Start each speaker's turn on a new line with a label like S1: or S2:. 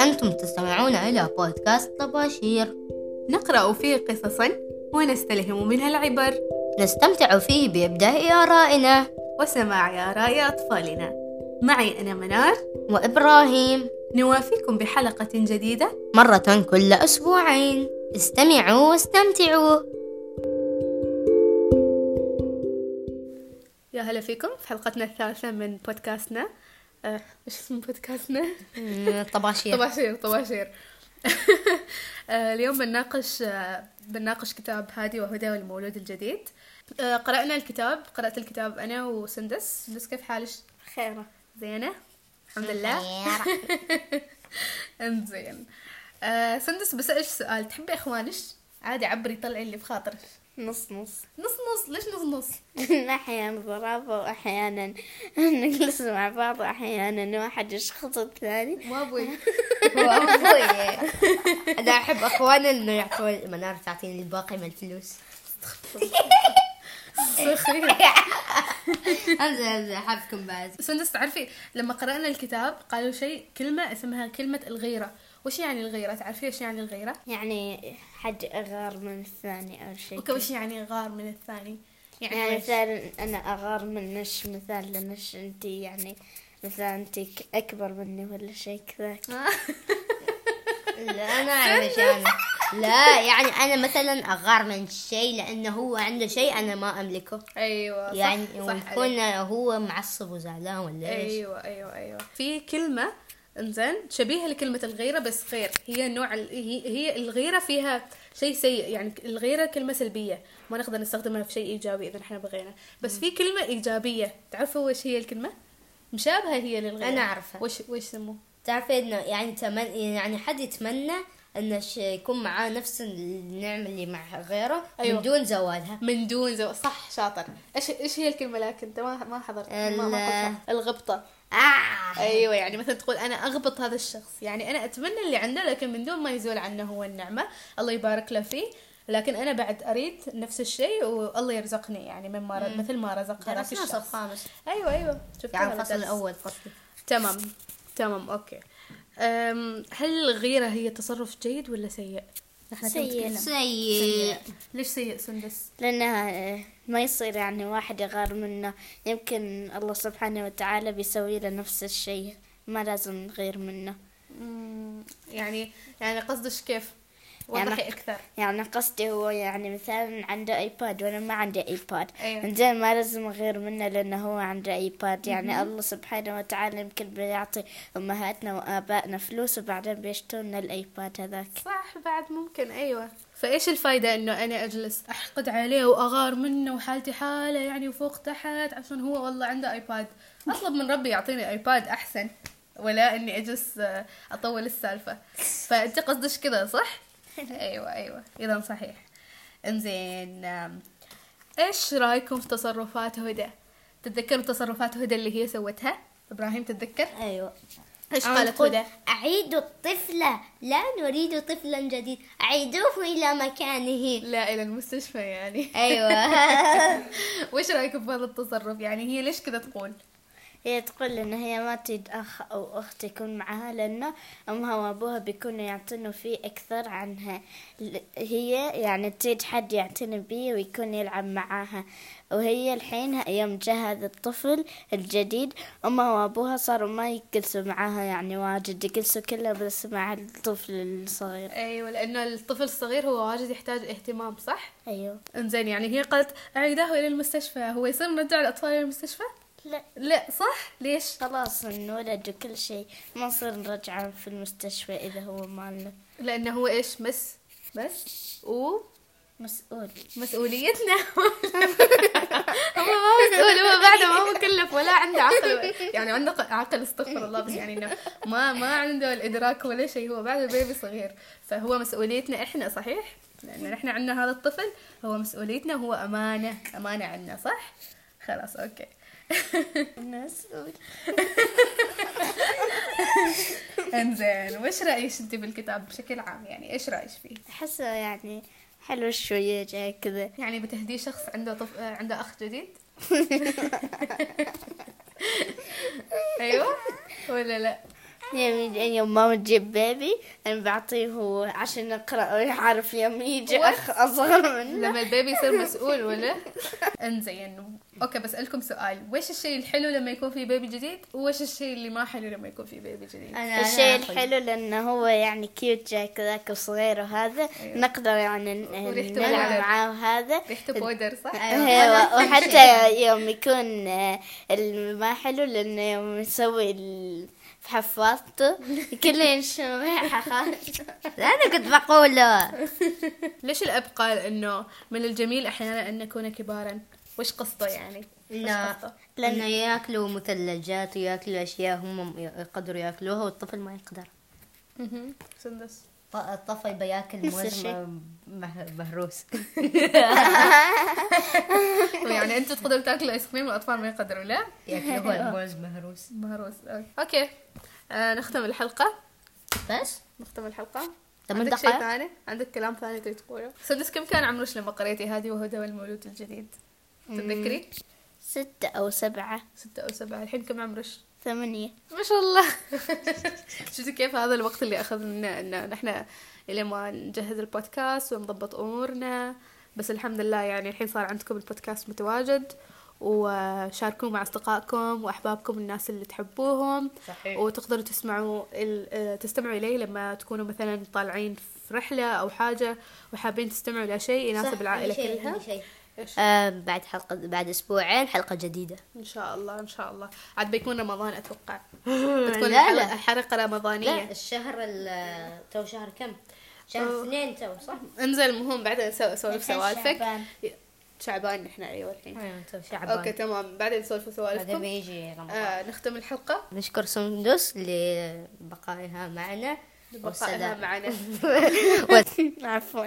S1: أنتم تستمعون إلى بودكاست طباشير
S2: نقرأ فيه قصصا ونستلهم منها العبر
S1: نستمتع فيه بإبداء آرائنا
S2: وسماع آراء أطفالنا معي أنا منار
S1: وإبراهيم
S2: نوافيكم بحلقة جديدة
S1: مرة كل أسبوعين استمعوا واستمتعوا
S2: يا هلا فيكم في حلقتنا الثالثة من بودكاستنا آه، ايش اسم بودكاستنا؟
S1: طباشير
S2: طباشير طباشير آه، اليوم بنناقش آه، بنناقش كتاب هادي وهدى والمولود الجديد آه، قرأنا الكتاب قرأت الكتاب أنا وسندس سندس كيف حالك؟ خيرة زينة؟ الحمد لله انزين آه، سندس بسألك سؤال تحبي إخوانك؟ عادي عبري طلعي اللي بخاطرك
S3: نص نص
S2: نص نص ليش نص نص؟
S3: احيانا ضرابة واحيانا نجلس مع بعض واحيانا واحد يشخط الثاني
S2: ما أبوي
S1: وأبوي. أنا أحب أخواني إنه يعطوني منار تعطيني الباقي من الفلوس
S2: صخي
S1: أمزح أمزح أحبكم بعد
S2: سندس تعرفي لما قرأنا الكتاب قالوا شيء كلمة اسمها كلمة الغيرة وش يعني الغيرة تعرفي ايش يعني الغيرة
S3: يعني حد أغار من الثاني أو شيء
S2: اوكي وش يعني غار من الثاني يعني
S3: يعني
S2: وش؟
S3: مثلا أنا أغار من نش مثال لنش أنتي يعني مثلا أنتي ك- أكبر مني ولا شيء كذا
S1: لا أنا أعرف يعني لا يعني أنا مثلا أغار من شيء لأنه هو عنده شيء أنا ما أملكه
S2: ايوه صح
S1: يعني
S2: صح
S1: ويكون هو معصب وزعلان ولا ايش
S2: ايوه ايوه ايوه في كلمة انزين شبيهة لكلمة الغيرة بس غير هي نوع ال- هي, هي الغيرة فيها شيء سيء يعني الغيرة كلمة سلبية ما نقدر نستخدمها في شيء ايجابي اذا احنا بغينا بس في كلمة ايجابية تعرفوا وش هي الكلمة؟ مشابهة هي للغيرة
S1: أنا أعرفها.
S2: وش وش سموه؟
S1: تعرفي انه يعني تمن يعني حد يتمنى انه ش- يكون معاه نفس النعمه اللي مع غيره أيوة.
S2: أيوة.
S1: من دون زوالها
S2: من دون زو صح شاطر ايش ايش هي الكلمه لكن انت ما ما حضرت ما ما قلتها. الغبطه
S1: آه.
S2: ايوه يعني مثلا تقول انا اغبط هذا الشخص يعني انا اتمنى اللي عنده لكن من دون ما يزول عنه هو النعمه الله يبارك له فيه لكن انا بعد اريد نفس الشيء والله يرزقني يعني مما رز... مثل ما رزق هذاك
S1: درسنا الصف
S2: الشخص
S1: الخامس
S2: ايوه ايوه شفت
S1: يعني الفصل الاول فصل
S2: تمام تمام اوكي أم هل الغيره هي تصرف جيد ولا سيء؟ نحن
S3: سيء.
S2: نتكلم.
S1: سيء
S2: ليش سيء سندس؟
S3: لأنها آه، ما يصير يعني واحد يغار منه يمكن الله سبحانه وتعالى بيسوي له نفس الشيء ما لازم نغير منه
S2: مم، يعني يعني قصدش كيف؟
S3: يعني-
S2: وضحي اكثر
S3: يعني قصدي هو يعني مثلا عنده ايباد وانا ما عندي ايباد
S2: أيوة.
S3: زين ما لازم اغير منه لانه هو عنده ايباد يعني الله سبحانه وتعالى يمكن بيعطي امهاتنا وابائنا فلوس وبعدين بيشترون الايباد هذاك
S2: صح بعد ممكن ايوه فايش الفايده انه انا اجلس احقد عليه واغار منه وحالتي حاله يعني وفوق تحت عشان هو والله عنده ايباد اطلب من ربي يعطيني ايباد احسن ولا اني اجلس آه، اطول السالفه فانت قصدك كذا صح ايوه ايوه اذا صحيح انزين آم، ايش رايكم في تصرفات هدى تتذكروا تصرفات هدى اللي هي سوتها ابراهيم تتذكر
S1: ايوه
S2: ايش
S1: أنا
S2: قالت
S1: تقول،
S2: هدى
S1: اعيدوا الطفله لا نريد طفلا جديد اعيدوه الى مكانه
S2: لا الى المستشفى يعني
S1: ايوه
S2: وش رايكم بهذا التصرف يعني هي ليش كذا تقول
S3: هي تقول ان هي ما تريد اخ او اخت يكون معها لانه امها وابوها بيكونوا يعطونوا فيه اكثر عنها ل- هي يعني تريد حد يعتني بيه ويكون يلعب معاها وهي الحين يوم جاء هذا الطفل الجديد امها وابوها صاروا ما يجلسوا معاها يعني واجد يجلسوا كلها بس مع الطفل الصغير
S2: ايوه لانه الطفل الصغير هو واجد يحتاج اهتمام صح
S3: ايوه
S2: انزين يعني هي قالت اعيداه الى المستشفى هو يصير نرجع الاطفال الى المستشفى
S3: لا
S2: لا صح ليش
S3: خلاص انولد وكل شيء ما نصير نرجعه في المستشفى اذا هو مالنا
S2: لانه هو ايش مس مس و
S3: مسؤول
S2: مسؤوليتنا هو ما مسؤول هو بعده ما مكلف ولا عنده عقل يعني عنده ق- عقل استغفر الله بس يعني انه ما ما عنده الادراك ولا شيء هو بعده بيبي صغير فهو مسؤوليتنا احنا صحيح؟ لان احنا عندنا هذا الطفل هو مسؤوليتنا هو امانه امانه عنا صح؟ خلاص اوكي
S3: مسؤول
S2: انزين وش رايك انت بالكتاب بشكل عام يعني ايش رايك فيه؟
S3: أحسه يعني حلو شوية جاي كذا
S2: يعني بتهدي شخص عنده طف... آه، عنده اخ جديد أيوة. ولا لا
S3: يعني يوم ماما تجيب بيبي انا بعطيه هو عشان اقرا ويعرف يوم يجي
S2: What?
S3: اخ اصغر منه
S2: لما البيبي يصير مسؤول ولا انزين اوكي بسالكم سؤال وش الشيء الحلو لما يكون في بيبي جديد ووش الشيء اللي ما حلو لما يكون في بيبي جديد
S1: أنا
S3: الشيء
S1: أخذ.
S3: الحلو لانه هو يعني كيوت جاك ذاك وصغير وهذا
S2: أيوة.
S3: نقدر يعني ن-
S2: وريحته
S3: نلعب
S2: ولد.
S3: معاه وهذا
S2: ريحته بودر صح
S1: أيوة. ولا
S3: ايوه وحتى يوم يكون آه، الم- ما حلو لانه يوم يسوي ال- في حفاظته كله ينشم ريحه خالص
S1: لا انا كنت بقوله
S2: ليش الاب قال انه من الجميل احيانا ان نكون كبارا وش قصته يعني وش
S1: لا
S2: قصته؟
S1: لانه ياكلوا مثلجات وياكلوا اشياء هم يقدروا ياكلوها والطفل ما يقدر
S2: مهم. سندس
S1: ط- الطفل بياكل
S3: نفس
S1: موز
S3: الشيء.
S1: م- مه- مهروس
S2: يعني انتوا تقدروا تاكلوا ايس كريم والاطفال ما يقدروا لا
S1: ياكلوا الموز مهروس
S2: مهروس أوكي. اوكي آه نختم الحلقه
S1: بس
S2: نختم الحلقه
S1: ثمان
S2: عندك شيء
S1: دقائق.
S2: ثاني عندك كلام ثاني تبي تقوله سندس كم كان عمرك لما قريتي هذه وهدى والمولود الجديد تتذكري
S3: ستة أو سبعة
S2: ستة أو سبعة الحين كم عمرك
S3: ثمانية
S2: ما شاء الله شفتي كيف هذا الوقت اللي اخذ منا ان نحن الى ما نجهز البودكاست ونضبط امورنا بس الحمد لله يعني الحين صار عندكم البودكاست متواجد وشاركوه مع اصدقائكم واحبابكم الناس اللي تحبوهم
S1: صحيح.
S2: وتقدروا تسمعوا ال- آه، تستمعوا اليه لما تكونوا مثلا طالعين في رحله او حاجه وحابين تستمعوا لشيء يناسب العائله كلها إيش؟
S1: آه بعد حلقة بعد أسبوعين حلقة جديدة
S2: ان شاء الله ان شاء الله عاد بيكون رمضان اتوقع بتكون
S1: لا
S2: لا
S1: لا
S2: حلقه رمضانيه
S1: لا الشهر ال- تو شهر كم؟ شهر
S2: أوه.
S1: اثنين تو صح؟
S2: انزل المهم بعدين نسوي نسولف
S3: الحين
S2: سوالفك
S3: شعبان.
S2: شعبان نحن ايوه الحين
S1: أيوة، تو شعبان
S2: اوكي تمام بعدين نسولف
S1: بعدين
S2: سوالفكم
S1: بيجي رمضان
S2: آه نختم الحلقه
S1: نشكر سندس لبقائها معنا
S2: بقائها
S1: والسلام
S2: معنا
S3: عفوا